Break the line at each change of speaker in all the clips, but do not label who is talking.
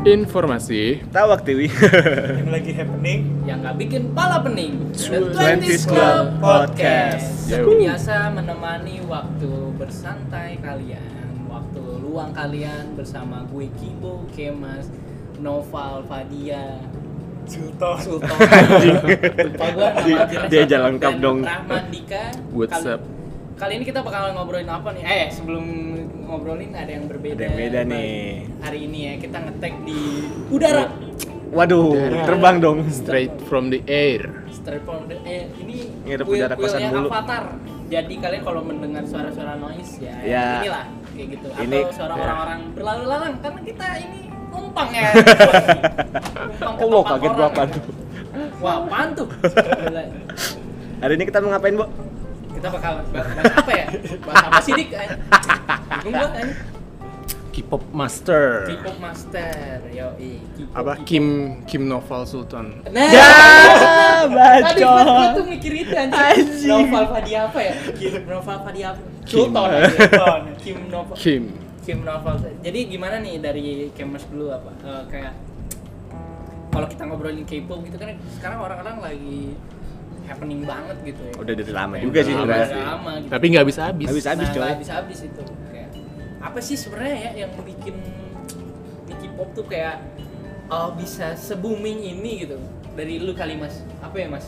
Informasi
Tawak TV
yang lagi happening
yang nggak bikin pala pening. The
20s Club Podcast.
Seperti biasa menemani waktu bersantai kalian, waktu luang kalian bersama gue Kibo, Kemas, Noval, Fadia,
Sultan
Sultan. Lupa gue nama
Dia-
akhirnya.
dia aja lengkap
Dan
dong.
Rahmat Dika.
What's
Kali-
up?
Kali ini kita bakalan ngobrolin apa nih? Eh, sebelum ngobrolin ada yang
Ada
berbeda.
yang beda nih.
Hari ini ya kita ngetek di udara.
Waduh, terbang dong
straight from the air.
Straight from the- eh ini
Ngirep
kuil-
udara kosan
kuilnya
mulu.
avatar. Jadi kalian kalau mendengar suara-suara noise ya,
Ya.
inilah kayak gitu. Atau
Ini-
suara
ya.
orang-orang berlalu-lalang karena kita ini numpang ya. numpang ke
Oh, wow,
tempat
kaget gua
orang.
apaan tuh.
Wah, apaan tuh? Gila.
Hari ini kita mau ngapain, Bu?
kita bakal bahas bahas apa ya? Bahas apa sih, Dik? Bingung gua eh.
K-pop master.
K-pop master. Yoi, K-pop.
Apa Kim Kim Noval Sultan?
Nah,
Ya,
Tadi gua gua
bacot.
tuh mikir itu
Anjing.
anjing. Novel Fadi apa ya? Kim Novel Fadi apa? Sultan.
Sultan.
Kim Novel.
Kim.
Kim Novel. Jadi gimana nih dari Kemas dulu apa? Eh, kayak kalau kita ngobrolin K-pop gitu kan sekarang orang-orang lagi happening banget gitu ya.
Udah dari lama juga sih
Udah
Udah
sebenarnya.
lama gitu.
Tapi nggak bisa habis.
Habis habis,
Nah,
coy.
habis-habis itu. Kayak, apa sih sebenarnya ya yang bikin di K-pop tuh kayak oh, bisa se-booming ini gitu? Dari lu kali mas, apa ya mas?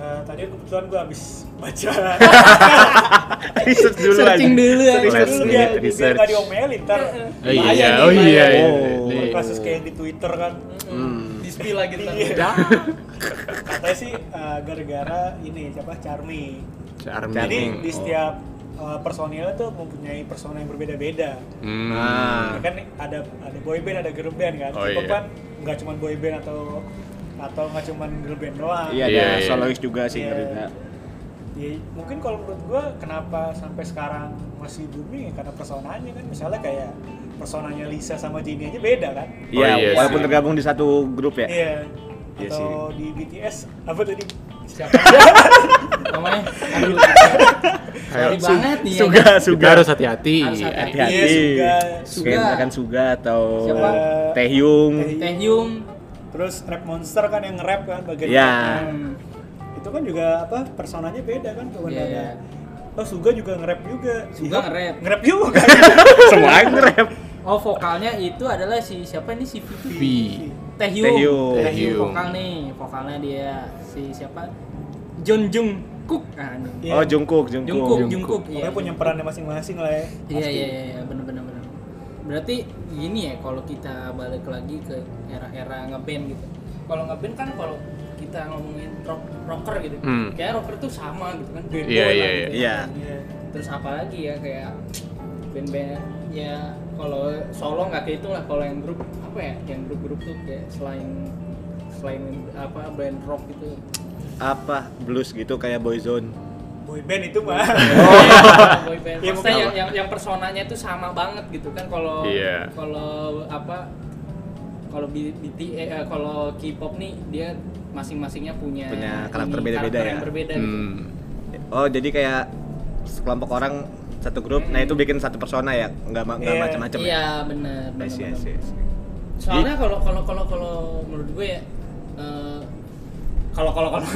Eh, tadi kebetulan gue habis baca
Research dulu
Searching
aja.
dulu aja.
Research
dulu
dulu
biar,
ya,
biar gak
research.
diomelin ntar
Oh iya,
Bahaya
iya,
nih,
oh
bahaya.
iya, iya.
Oh.
iya.
kasus kayak di Twitter kan
Hmm. Di spill lagi ntar.
Iya.
Dah.
katanya sih eh, gara-gara ini siapa Charmy
Charming. Oh.
jadi di setiap eh, personilnya tuh mempunyai persona yang berbeda-beda
Hmm.
Ya kan ada ada boy band ada girl band kan
Oh,
K-pop
iya.
kan nggak cuma boy band atau atau nggak cuma girl band doang
Iya,
Iya, ada
iya. Oh,
solois juga sih juga.
Ya, mungkin kalau menurut gua kenapa sampai sekarang masih booming ya karena personanya kan misalnya kayak personanya Lisa sama Jennie aja beda kan
Iya,
iya sih.
walaupun tergabung di satu grup ya.
iya
Iya
atau di BTS apa tadi
Siapa? Namanya? Aduh. Sorry
Su-
banget nih. ya.
Suga,
Kita
suga.
harus hati-hati.
Harus hati-hati.
hati-hati.
Iya, Suga.
Suga.
Kayak misalkan Suga atau
Siapa?
Taehyung.
Taehyung.
terus rap monster kan yang rap kan bagian
Iya.
rapnya.
Hmm.
itu kan juga apa personanya beda kan tuh
Iya, iya.
Oh, Suga juga nge-rap juga.
Suga
Iya,
nge-rap.
Nge-rap juga.
Semua nge-rap.
Oh vokalnya itu adalah si siapa ini si Vivi.
V.
Taehyung.
Taehyung.
Taehyung.
vokal nih, vokalnya dia si siapa? John Jung Kook. Ah, ini.
Iya.
Oh, Jungkook,
Jungkook,
Jungkook.
Jungkook. Iya.
Pokoknya punya perannya masing-masing lah ya.
Iya iya iya iya, bener bener bener. Berarti gini ya kalau kita balik lagi ke era-era ngeband gitu. Kalau ngeband kan kalau kita ngomongin rock, rocker gitu,
Hmm.
kayak rocker tuh sama gitu kan. band
Iya,
doang
iya,
gitu.
Iya.
Iya.
Terus apa lagi ya kayak band-band ya kalau solo nggak kayak itu lah kalau yang grup apa ya yang grup-grup tuh kayak selain selain apa band rock gitu
Apa blues gitu kayak boyzone.
Boy band itu mah.
boy band.
Iya,
Maksudnya
bukan
yang, yang yang personanya tuh sama banget gitu kan kalau
Iya.
kalau apa kalau B- BT eh, eh, kalau K-pop nih dia masing-masingnya punya
Punya
ini,
karakter beda-beda
karakter
ya.
yang berbeda gitu.
Hmm.
Oh, jadi kayak sekelompok orang satu grup, nah itu bikin satu persona ya, nggak ma- nggak
Iya.
macam-macam
Iya,
ya.
benar.
I see, I
benar,
see, I see.
soalnya kalau kalau kalau kalau menurut gue ya eh, kalau kalau kalau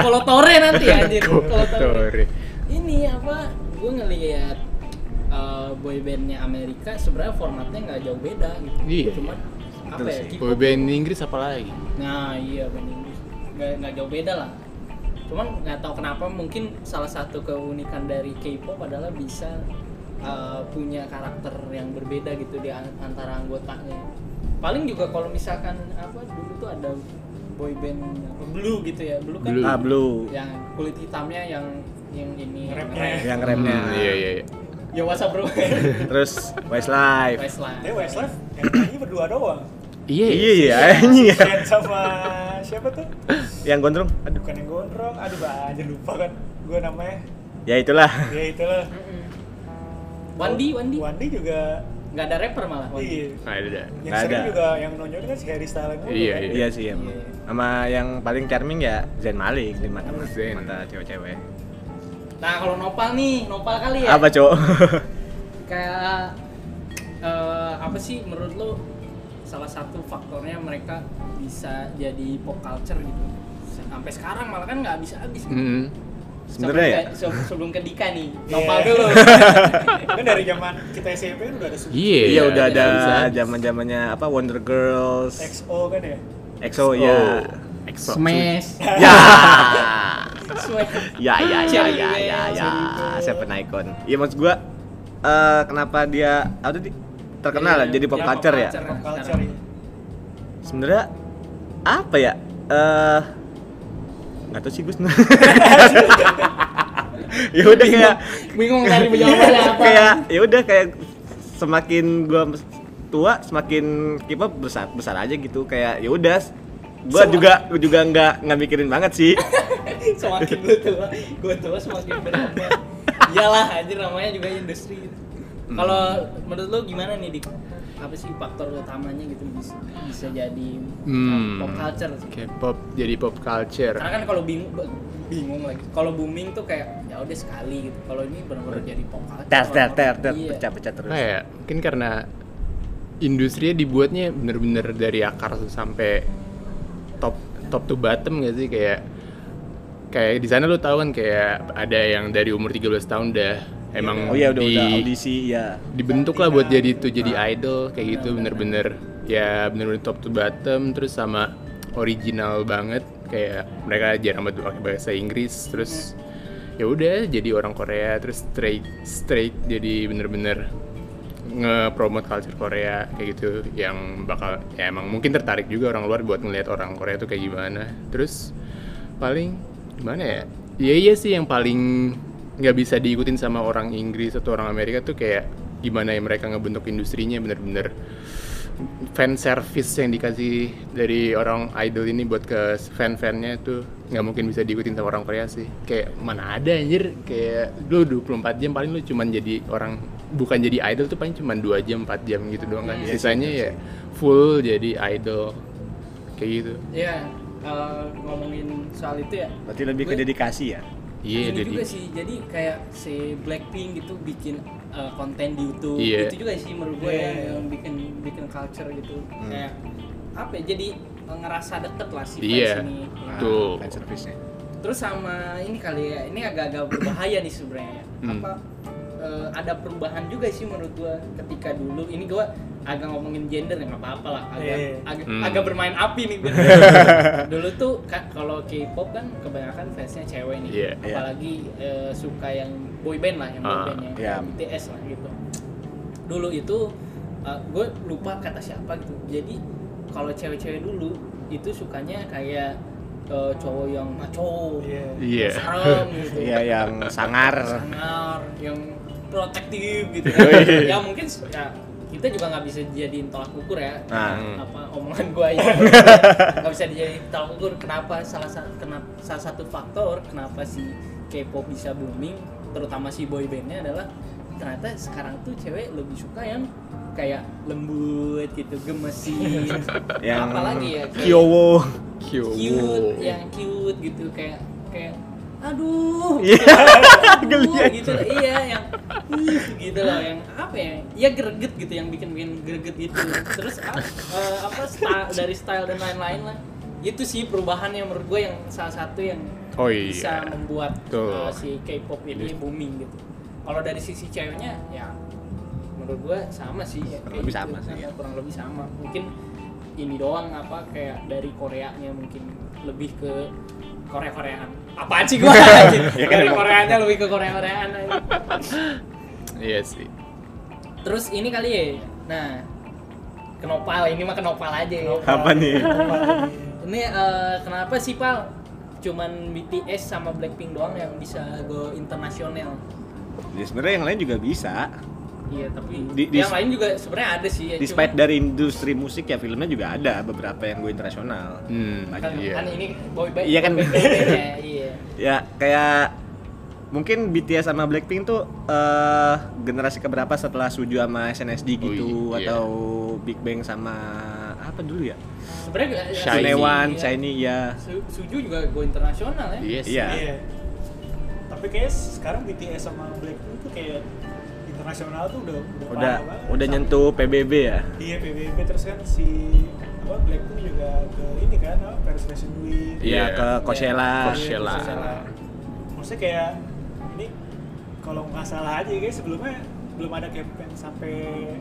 kalau tore nanti ya anjir kalau
Tore.
tore ini apa gue ngelihat eh, boy bandnya Amerika sebenarnya formatnya nggak jauh beda gitu
Iya.
cuman apa
Betul
ya
sih.
K-pop.
Boy band Inggris apa lagi?
nah iya band Inggris nggak nggak jauh beda lah cuman nggak tahu kenapa mungkin salah satu keunikan dari K-pop adalah bisa eh, punya karakter yang berbeda gitu di an- antara anggotanya paling juga kalau misalkan apa dulu tuh ada boy band apa, blue gitu ya blue kan
Blue.
Ah, blue.
yang kulit hitamnya yang yang ini yang
Rapnya.
rap.
Yang remnya.
Hmm, Iya, iya, iya.
ya what's up bro
Terus Westlife.
Westlife
Tapi Westlife yang nyanyi berdua doang.
Iya.
Iya, iya, anjing ya.
Shane sama siapa tuh?
Yang gondrong.
Aduh, bukan yang gondrong. Aduh, aja lupa kan gue namanya.
Ya itulah.
Ya itulah.
Wandi Wandi
Wandi juga
nggak ada rapper malah Wandi
iya.
Nah, ada.
Yang
Nggak
sering
ada.
juga yang nonjol kan si Harry Styles mulu
Iya,
kan.
iya.
Iya sih emang.
Iya.
Sama yang paling charming ya Zain Malik di mata
Zayn.
mata cewek-cewek.
nah kalau nopal nih nopal kali ya
Apa cowok?
kayak eh, apa sih menurut lo salah satu faktornya mereka bisa jadi pop culture gitu sampai sekarang malah kan nggak bisa habis
Mm-mm.
Sebenarnya ya?
sebelum ke Dika nih
Iya.
nopal dulu
kan dari zaman kita SMP kan udah ada Super
Iya.
Iya udah ada
bisa.
zaman zamannya apa Wonder Girls,
XO kan ya
EXO ya.
EXO.
smash
Ya.
smash
Ya ya ya ya ya ya.
Sorry.
Seven Icon. Iya maksud gua eh, kenapa dia apa tadi terkenal lah
Iya,
jadi pop
dia
culture ya?
culture.
pop culture ya.
Sebenarnya apa ya? Eh nggak tahu sih gue sebenarnya. ya udah kayak
bingung cari jawabannya apa
kayak ya udah kayak semakin gua tua semakin K-pop besar besar aja gitu kayak ya udah gua
Semua-
juga juga nggak nggak mikirin banget sih
semakin gue tua gue tua semakin berubah iyalah anjir namanya juga industri gitu. kalau menurut lo gimana nih dik apa sih faktor utamanya gitu bisa, bisa jadi
Hmm.
pop culture
K-pop jadi pop culture.
karena kan kalau bingung bingung lagi kalau booming tuh kayak ya udah sekali gitu kalau ini benar-benar jadi pop culture
ter ter ter ter
Iya.
pecah pecah terus
Nah ya, mungkin karena industrinya dibuatnya bener-bener dari akar sampai top top to bottom gak sih kayak kayak di sana lo tahu kan kayak ada yang dari umur 13 tahun dah emang
oh ya udah
di-
udah audisi Ah. ya
dibentuk lah buat jadi itu jadi idol kayak gitu bener-bener ya bener-bener top to bottom terus sama original banget kayak mereka jarang banget pakai bahasa Inggris terus ya udah jadi orang Korea terus straight straight jadi bener-bener nge-promote culture Korea kayak gitu yang bakal ya emang mungkin tertarik juga orang luar buat ngelihat orang Korea tuh kayak gimana terus paling gimana ya iya iya sih yang paling nggak bisa diikutin sama orang Inggris atau orang Amerika tuh kayak gimana ya mereka ngebentuk industrinya bener-bener fan service yang dikasih dari orang idol ini buat ke fan-fannya itu nggak mungkin bisa diikutin sama orang Korea sih kayak mana ada anjir kayak lu 24 jam paling lu cuman jadi orang bukan jadi idol tuh paling cuman 2 jam 4 jam gitu doang kan sisanya ya full jadi idol kayak gitu
ya eh, ngomongin soal itu ya
berarti lebih ke
Gue-
dedikasi ya
iya
Ini
jadi
juga sih jadi kayak si Blackpink gitu bikin uh, konten di YouTube
Iya.
itu juga sih menurut gue
Iya.
yang, yang bikin bikin culture gitu
Hmm.
kayak apa ya, jadi uh, ngerasa deket lah si fans
Iya.
ini
Ah.
Ya.
Betul.
fan service nya
terus sama ini kali ya ini agak-agak berbahaya nih sebenarnya
Hmm.
apa uh, ada perubahan juga sih menurut gue ketika dulu ini gue agak ngomongin gender ya nggak apa-apa lah agak
Iya.
agak,
Hmm.
agak bermain api nih gua. dulu tuh ka- kalau K-pop kan kebanyakan fansnya cewek nih
Iya.
apalagi eh, suka yang boyband lah yang
Ah,
boyband yang
iya.
BTS lah gitu dulu itu gue lupa kata siapa gitu jadi kalau cewek-cewek dulu itu sukanya kayak eh, cowok yang maco
Iya.
Iya.
serem gitu
iya yang sangar
sangar yang protektif gitu kan. ya mungkin ya, kita juga nggak bisa jadiin tolak ukur ya
Nah.
apa omongan gua ini nggak bisa dijadiin tolak ukur kenapa salah satu kenapa salah satu faktor kenapa si K-pop bisa booming terutama si boy bandnya adalah ternyata sekarang tuh cewek lebih suka yang kayak lembut gitu gemesin
yang
apalagi ya kayak-
kyowo
cute
Kyo.
yang cute gitu kayak kayak aduh
Iya,
aduh,
geli aja.
gitu loh iya yang "Ih," gitu loh yang apa ya ya greget gitu yang bikin bikin greget gitu terus ah, eh, apa style, dari style dan lain-lain lah itu sih perubahan yang menurut gue yang salah satu yang
Oh iya.
bisa membuat
Betul.
eh, si K-pop ini booming gitu kalau dari sisi ceweknya ya menurut gua sama sih ya,
Kurang lebih sama sih, ya.
kurang lebih sama mungkin ini doang apa kayak dari Koreanya mungkin lebih ke Korea Koreaan apaan sih gua
Ya
ya
kan
Korea
emang.
Koreanya lebih ke Korea Koreaan
iya sih
terus ini kali ya nah kenopal ini mah kenopal aja ya.
apa nih
ini eh, kenapa sih pal cuman BTS sama Blackpink doang yang bisa go internasional
ya, sebenarnya yang lain juga bisa
iya tapi
Di- di-
yang lain juga sebenarnya ada sih ya,
despite
cuman-
dari industri musik ya filmnya juga ada beberapa yang gue internasional
Hmm,
Banyak.
kan,
iya.
kan ini boy band
Iya kan?
boy band- boy band ya, iya
ya kayak mungkin BTS sama Blackpink tuh eh generasi keberapa setelah Suju sama SNSD gitu
Oh, iya.
atau Big Bang sama apa dulu ya
sebenarnya eh,
Shiny.
Sunewan,
iya.
Shiny ya
Su- Suju juga go internasional ya
Iya sih.
Iya.
Iya. Tapi kayak sekarang BTS sama Blackpink tuh kayak internasional tuh udah
Iya.
udah,
udah
parah banget.
udah nyentuh PBB ya
Iya PBB terus kan si apa Blackpink juga ke ini kan apa Paris Fashion Week.
Iya.
Iya ke Coachella.
Coachella.
Iya, Maksudnya kayak ini kalau nggak salah aja ya guys sebelumnya belum ada campaign sampai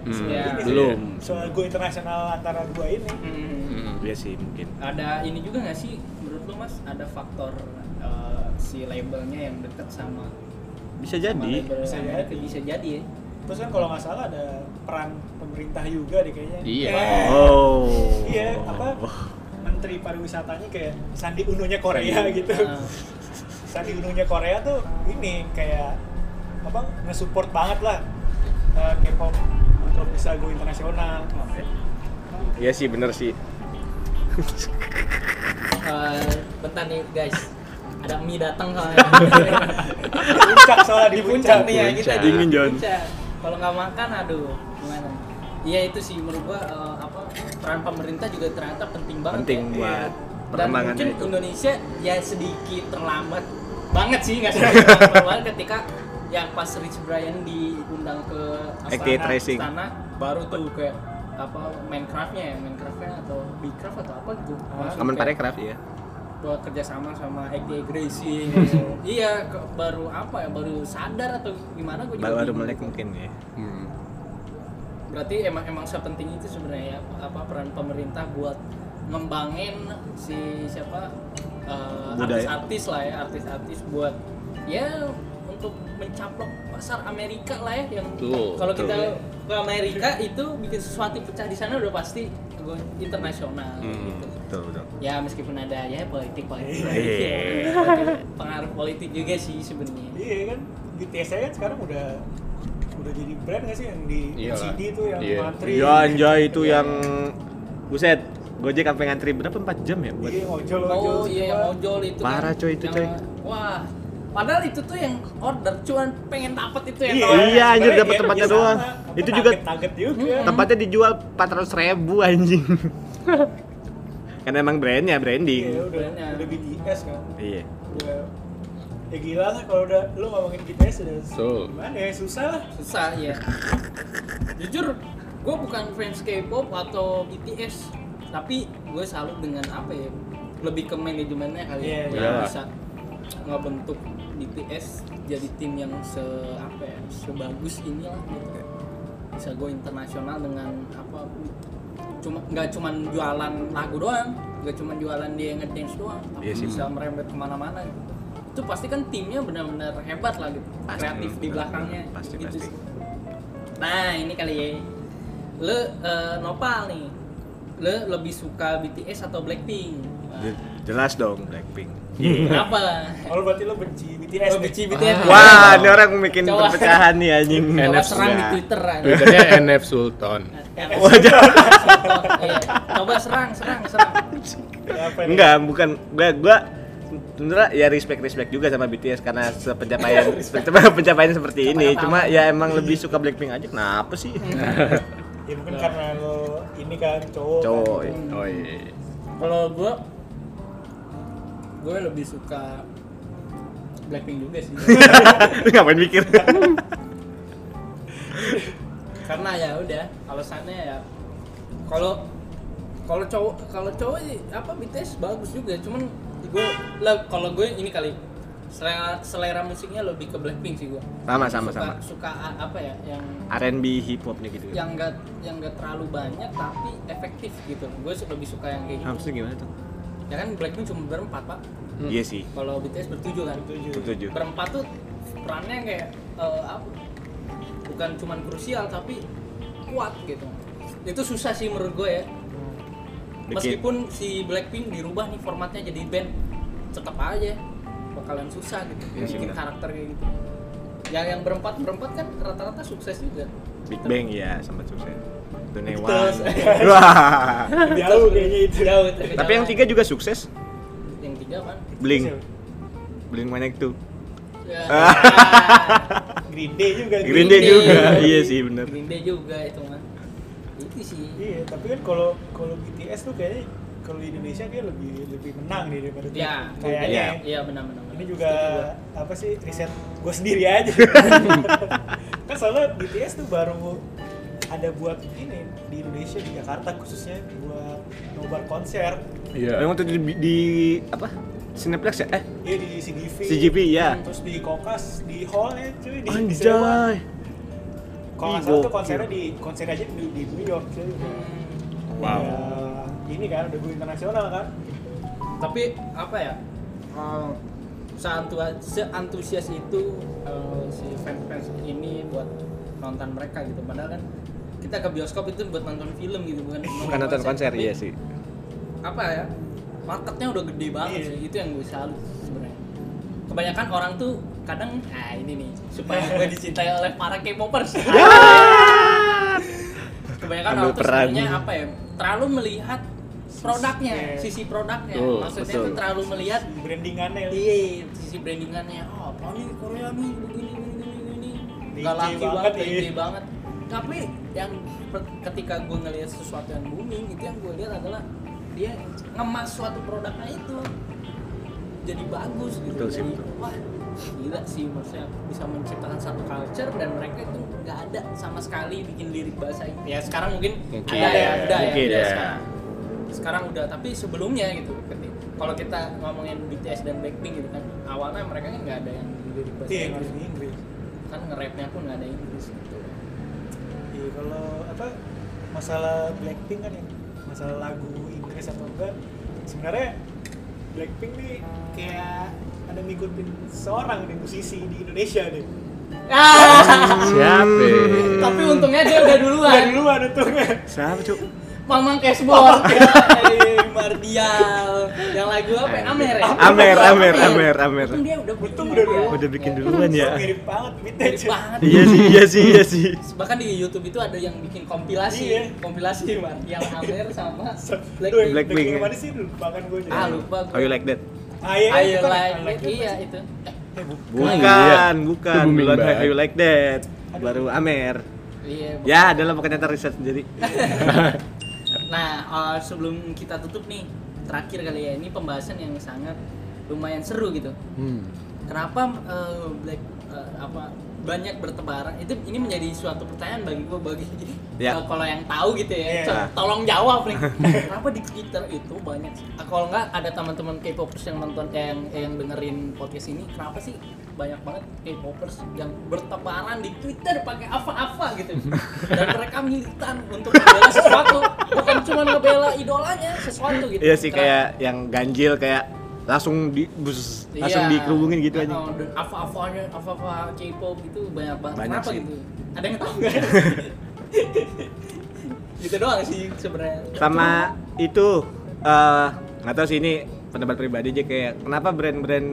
Hmm,
sebelum
iya.
ini sih. ya.
Belum.
Soal go internasional antara dua ini.
Hmm.
Hmm.
Iya sih mungkin.
ada ini juga nggak sih menurut lu mas ada faktor eh, si labelnya yang dekat sama
Bisa
sama
jadi.
label
Bisa
Amerika?
jadi.
bisa jadi ya
Terus kan kalau nggak salah ada peran pemerintah juga deh kayaknya.
Iya. Oh.
Eh,
Oh.
Iya, apa? Menteri pariwisatanya kayak Sandi Uno-nya
Iya.
Korea gitu.
Ah.
Nah,
Sandi Uno-nya Korea tuh ini kayak apa nge-support banget lah eh, K-pop untuk bisa go internasional.
Iya sih bener sih.
eh, bentar nih guys ada mie datang soalnya
Di puncak soalnya di puncak.
nih ya kita
Puncak.
di
Dingin, John.
puncak. kalau nggak makan aduh gimana iya itu sih menurut gua eh, apa peran pemerintah juga ternyata penting banget
Penting
ya.
buat
dan
perkembangan
mungkin
itu.
Indonesia ya sedikit terlambat banget sih nggak sedikit terlambat banget ketika yang pas Rich Brian diundang ke
Activate
Astana,
Racing.
Astana, baru tuh kayak apa Minecraftnya ya Minecraftnya atau Bcraft atau apa gitu Maksudnya
Kamen
kayak
Parekraf ya.
buat kerjasama sama Activate Racing iya ke- baru apa ya baru sadar atau gimana gue juga
Baru baru
bingung.
melek mungkin ya.
Hmm.
berarti emang emang sepenting itu sebenarnya ya, apa peran pemerintah buat ngembangin si siapa eh,
Budaya.
artis-artis lah ya artis-artis buat ya untuk mencaplok pasar Amerika lah ya yang
Betul,
kalau
betul.
kita ke Amerika itu bikin sesuatu yang pecah di sana udah pasti go- internasional
Hmm.
gitu
Betul betul.
ya meskipun ada ya politik politik
Iya.
pengaruh politik juga sih sebenarnya
Iya kan, BTS kan sekarang udah udah jadi brand nggak sih yang di
Iyalah.
CD itu yang
Iya.
mantri.
Iya anjay itu yang buset. Gojek sampai ngantri berapa 4 jam ya buat
Iya, ojol ojol.
Oh iya yang
semua.
ojol itu
Parah,
kan.
coy, itu,
Yang-
coy.
Wah, padahal itu tuh yang order cuman pengen dapat itu ya.
Iya,
Toy.
Iya, anjir,
sebenarnya
dapat
iya,
tempatnya
iya sama.
doang.
Apa,
Itu juga- Hmm.
target-target juga.
Tempatnya dijual 400 ribu anjing. Karena emang brandnya
Iya,
branding.
udah,
Brandnya.
udah BTS kan.
Iya.
Udah ya gila lah kalau udah lu ngomongin BTS udah
Betul.
gimana ya susah lah.
Susah ya. Jujur, gue bukan fans K-pop atau BTS, tapi gue salut dengan apa ya? Lebih ke manajemennya kali
Iya,
ya.
iya.
Yang bisa ngebentuk BTS jadi tim yang se apa ya, sebagus inilah gitu. Bisa go internasional dengan apa cuma nggak cuman jualan lagu doang, nggak cuman jualan dia ngedance doang, tapi
Iya sih.
bisa merembet kemana-mana gitu. Itu pasti kan timnya benar-benar hebat lah gitu,
Pasti,
kreatif di
benar-benar.
belakangnya.
Pasti,
gitu
pasti.
sih. Nah ini kali ya, lu eh, nopal nih, lu lebih suka BTS atau Blackpink?
Je- Jelas dong Blackpink.
Iya. Kenapa?
Kalau berarti Oh, lu benci BTS.
Lu
nih.
benci BTS?
Wah, ini orang bikin
Coba.
perpecahan nih anjing.
Coba
NF
serang di
Ya.
Twitter aja.
Twitternya NF Sultan.
Iya, Coba serang, serang, serang.
Ya, apa nih?
Enggak, bukan gua gua sebenarnya ya respect respect juga sama BTS karena pencapaian pencapaian seperti ini.
Pencapaian
Cuma ya emang lebih suka Blackpink aja. Kenapa sih?
Ya mungkin karena lu ini kan cowok.
Cowok.
Kan,
Oh iya.
Kalau gue, gue lebih suka Blackpink juga sih.
Lu ngapain mikir?
Karena ya udah, alasannya ya kalau kalau cowok kalau cowok sih, apa BTS bagus juga, cuman gue lah kalau gue ini kali selera selera musiknya lebih ke Blackpink sih gue.
Sama sama
suka,
sama.
Suka a- apa ya yang
R&B hip hopnya gitu.
yang nggak yang nggak terlalu banyak tapi efektif gitu gue su- lebih suka yang kayak gitu
Maksudnya gimana tuh?
ya kan Blackpink cuma berempat pak
Iya sih.
kalau BTS bertujuh kan
Setuju.
Setuju.
berempat tuh perannya kayak eh, apa bukan cuman krusial tapi kuat gitu itu susah sih menurut gue ya
Hmm. Bikin-
meskipun si Blackpink dirubah nih formatnya jadi band tetap aja bakalan susah gitu
Iya sih,
bikin
benar.
karakter kayak gitu yang yang berempat berempat kan rata-rata sukses juga
Big Bang ya sempat sukses. Donewan.
Beatles.
Wah.
Jauh kayaknya itu.
jauh tapi
Tapi yang
jauh.
tiga juga sukses.
yang tiga kan
Bling. Bling mana itu?
Ya.
Green Day juga.
Green Day juga. Iya sih, bener.
Green Day juga itu mah. Itu sih.
Iya, tapi kan kalau kalau BTS tuh kayaknya kalau di Indonesia dia lebih lebih menang nih daripada
Iya.
Turki. kayaknya.
Iya.
Iya benar-benar.
Ini
benar.
juga
Setuju gua.
apa sih riset gue sendiri aja. kan soalnya BTS tuh baru ada buat ini di Indonesia di Jakarta khususnya buat nobar konser.
Iya.
Memang tuh di, di apa? Cineplex ya? Eh,
Iya di CGV.
CGV ya.
Terus di Kokas di hallnya cuy di Iya, di sewa.
Anjay.
Kalau nggak
Ih,
salah tuh
gokil.
konsernya di konser aja di, di New York cuy.
Wow.
Ya, ini kan udah gue internasional kan.
Tapi apa ya? eh, seantua- seantusias itu eh, si fans-fans ini buat nonton mereka gitu. Padahal kan kita ke bioskop itu buat nonton film gitu bukan
Bukan nonton konser
Tapi
iya sih.
apa ya marketnya udah gede banget
Iya.
sih itu yang gue salut sebenarnya kebanyakan orang tuh kadang nah ini nih supaya gue dicintai oleh para K-popers
Ya.
kebanyakan
Ambil
orang tuh
peran.
sebenarnya apa ya terlalu melihat produknya sisi produknya
Betul,
maksudnya
betul.
tuh terlalu melihat
Brandingannya.
iya sisi brandingannya oh apa nih Korea nih begini begini begini
Licin
nggak laki
banget,
banget
iya.
licin banget tapi yang per- ketika gue ngelihat sesuatu yang booming itu yang gue lihat adalah dia ngemas suatu produknya itu jadi bagus gitu
Betul sih,
Jadi,
betul.
wah gila sih maksudnya bisa menciptakan satu culture dan mereka itu nggak ada sama sekali bikin lirik bahasa Inggris. ya sekarang mungkin
Mungkin,
ada ya,
ya.
udah ya,
Mungkin,
udah
ya.
sekarang sekarang udah tapi sebelumnya gitu ketika- kalau kita ngomongin BTS dan Blackpink gitu kan awalnya mereka kan nggak ada yang lirik bahasa
Iya,
Inggris
harus di Inggris.
kan nge-rapnya pun nggak ada Inggris gitu
Iya kalau apa masalah Blackpink kan ya masalah lagu Inggris atau enggak sebenarnya Blackpink nih kayak ada ngikutin seorang nih musisi di Indonesia nih
Ah, Hmm.
Siapa?
tapi untungnya dia udah duluan
dari luar tuh
Siapa, Cuk?
Mamang Cashboard Eh, Mardial yang lagu apa ya? Amer ya?
Amer, Amer, Amer, Amer.
Untung dia udah
Untung
bikin
udah
duluan.
Udah bikin duluan ya.
mirip banget gitu
Mirip
aja
banget
Iya sih, iya sih, iya sih.
bahkan di YouTube itu ada yang bikin kompilasi
Iya.
kompilasi Mardial Amer sama Blackpink
Blackpink
Blackpink.
Blackpink yang mana sih dulu bahkan gue nih Ah,
ah
iya kan,
lupa
How you
gue
like that?
Ayo
Ayo like it. iya itu Eh,
Bukan, bukan.
Iya. Itu booming
Duluan
banget.
How you like that. Baru Amer.
iya
Ya, adalah pokoknya ntar riset sendiri.
Nah, eh, sebelum kita tutup nih, terakhir kali ya ini pembahasan yang sangat lumayan seru gitu.
Hmm.
Kenapa eh, Black eh, apa banyak bertebaran? Itu ini menjadi suatu pertanyaan bagi gua bagi
Ya.
eh, kalau yang tahu gitu ya.
Iya.
co- Tolong jawab nih. Kenapa di Twitter itu banyak? eh, Kalau nggak ada teman-teman K-popers yang nonton eh, yang yang dengerin podcast ini, kenapa sih banyak banget K-popers yang bertebaran di Twitter pakai apa-apa gitu dan mereka militan untuk membela sesuatu bukan cuma ngebela idolanya sesuatu gitu
Iya sih
Kenapa?
kayak yang ganjil kayak langsung di bus, langsung
Iya.
dikerubungin gitu aja.
Oh, dan Apa-apanya, apa-apa K-pop itu banyak banget.
Banyak
Kenapa
sih.
gitu? Ada yang tahu nggak? gitu doang sih sebenarnya.
sama itu eh, nggak tahu sih ini pendapat pribadi aja kayak kenapa brand-brand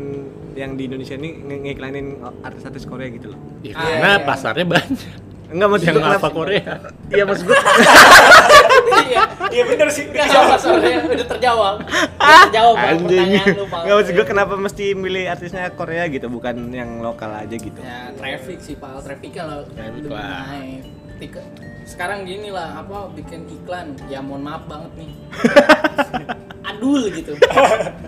yang di Indonesia ini nge- ngiklanin artis-artis Korea gitu loh
Ya,
Ah,
karena
iya.
pasarnya banyak.
enggak maksud
Yang
gue kenapa
apa Korea?
iya maksud gue
Iya.
iya bener sih
Nggak apa soalnya udah terjawab. Udah terjawab Bang,
anjing
pertanyaan lu Bang.
nggak maksud gue kenapa mesti milih artisnya Korea gitu bukan yang lokal aja gitu
Ya, traffic sih Pak. Traffic kalau
Traffic
lebih
lah.
naik. Tika- Sekarang gini lah, apa bikin iklan? Ya mohon maaf banget nih. adul gitu.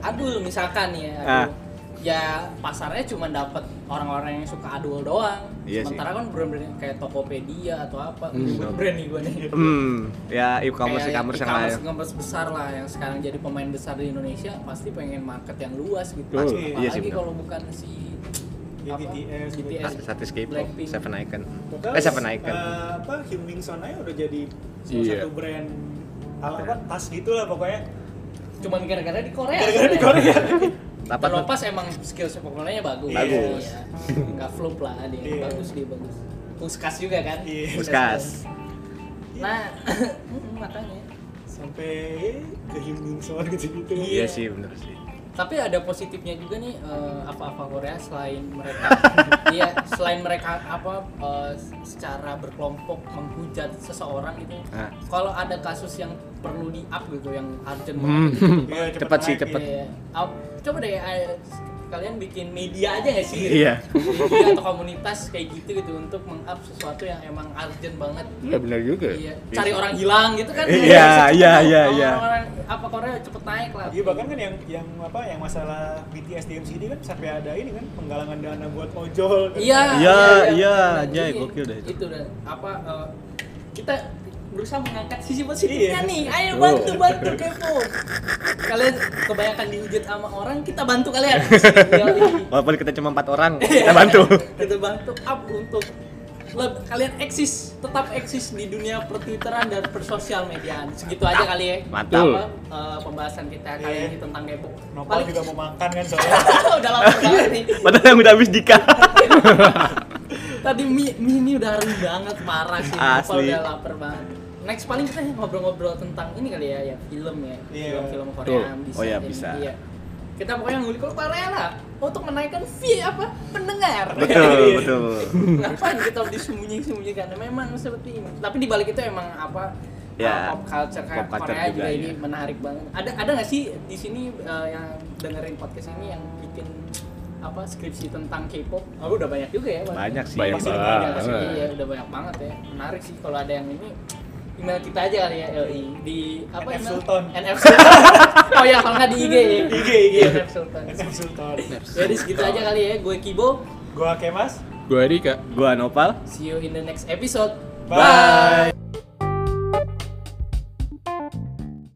Adul misalkan ya.
Ah.
Adul. Ya pasarnya cuma dapat orang-orang yang suka adul doang.
Iya sih.
Sementara kan brand-brand kayak Tokopedia atau apa,
Hmm.
nyebut brand nih gue nih.
hmm ya e-commerce
Kayak
e-commerce yang
e-commerce-
lain
e-commerce besar lah yang sekarang jadi pemain besar di Indonesia pasti pengen market yang luas gitu.
Betul.
Pasti.
Iya sih,
Apalagi
benar.
kalau bukan si
Ya,
apa,
BTS,
BTS,
artis-artis K-pop
ya. Blackpink.
Seven Icon
Padahal,
eh Seven
kan?
Icon
eh, apa Hyun Min Son aja udah jadi salah
Iya.
satu brand ala apa tas gitu lah pokoknya
Cuman gara-gara di Korea.
gara-gara di
sebenarnya.
Korea
Dapat
Kalau pas emang skill sepak bolanya bagus.
Iya. Bagus.
Iya. Nggak flop lah dia.
Iya.
Bagus dia bagus. Puskas juga kan?
Iya.
Puskas
Nah, makanya.
sampai ke Hyun Min Son gitu-gitu
iya sih bener sih
Tapi ada positifnya juga nih eh, apa-apa Korea selain mereka iya, selain mereka apa eh, secara berkelompok menghujat seseorang gitu.
Ah.
Kalau ada kasus yang perlu di-up gitu yang urgent
Hmm.
banget gitu,
Iya,
Cepet sih,
naik,
cepet.
iya.
Iya. Au- Coba deh eh, kalian bikin media aja nggak sih?
Iya.
Media atau komunitas kayak gitu gitu untuk meng-up sesuatu yang emang urgent banget.
Iya benar juga.
Iya. Cari orang hilang gitu kan?
Iya,
Nggak bisa cepet
iya,
tuh.
iya, iya.
Orang-orang apa Korea cepet naik lah.
Iya bahkan kan yang yang apa yang masalah BTS di MCD kan sampai ada ini kan penggalangan dana buat ojol. kan.
Iya,
Iya, iya,
Nah,
anjay,
jadi
gokil dah itu.
Itu dah apa eh, kita berusaha mengangkat sisi positifnya
Iya.
nih. Ayo
Oh.
bantu bantu kepo. Kalian kebanyakan dihujat sama orang, kita bantu kalian. Yoi.
Walaupun kita cuma empat orang, kita bantu.
kita bantu up untuk leb- kalian eksis, tetap eksis di dunia pertwitteran dan persosial mediaan. Segitu aja kali ya.
Mantul.
Apa, eh, pembahasan kita kali
Iya.
ini tentang Depok.
Nopal
Paling
juga mau makan kan soalnya.
udah lama banget nih.
Padahal yang udah habis Dika.
Iya, Tadi mie, mie ini udah harum banget, parah sih.
Asli.
Asli. Udah lapar banget. Next paling kita ngobrol-ngobrol tentang ini kali ya, ya film ya,
Iya.
film-film
Betul.
Korea bisa.
Oh ya,
jadi
bisa.
iya. Kita pokoknya ngulik ke Korea lah Oh, untuk menaikkan fee apa pendengar.
betul, betul.
Ngapain kita disembunyi-sembunyikan? Memang seperti ini. Tapi di balik itu emang apa?
Ya,
uh, pop culture, kayak
pop culture
Korea juga,
juga,
ini
ya.
menarik banget. Ada ada nggak sih di sini uh, yang dengerin podcast ini yang bikin apa skripsi tentang K-pop? Oh, udah banyak juga ya. Bang.
Banyak sih.
Iya, Banyak
Pasti
banget.
banyak pasti. Iya, udah banyak banget ya. Menarik sih kalau ada yang ini email kita aja kali ya LI di apa
NF
email?
Sultan.
NF Sultan. oh ya kalau nggak di IG ya.
IG, IG.
Iya, NF Sultan.
NF Sultan.
Jadi segitu aja kali ya. Gue Kibo.
Gua Kemas.
Gua Rika.
Gua Nopal.
See you in the next episode.
Bye.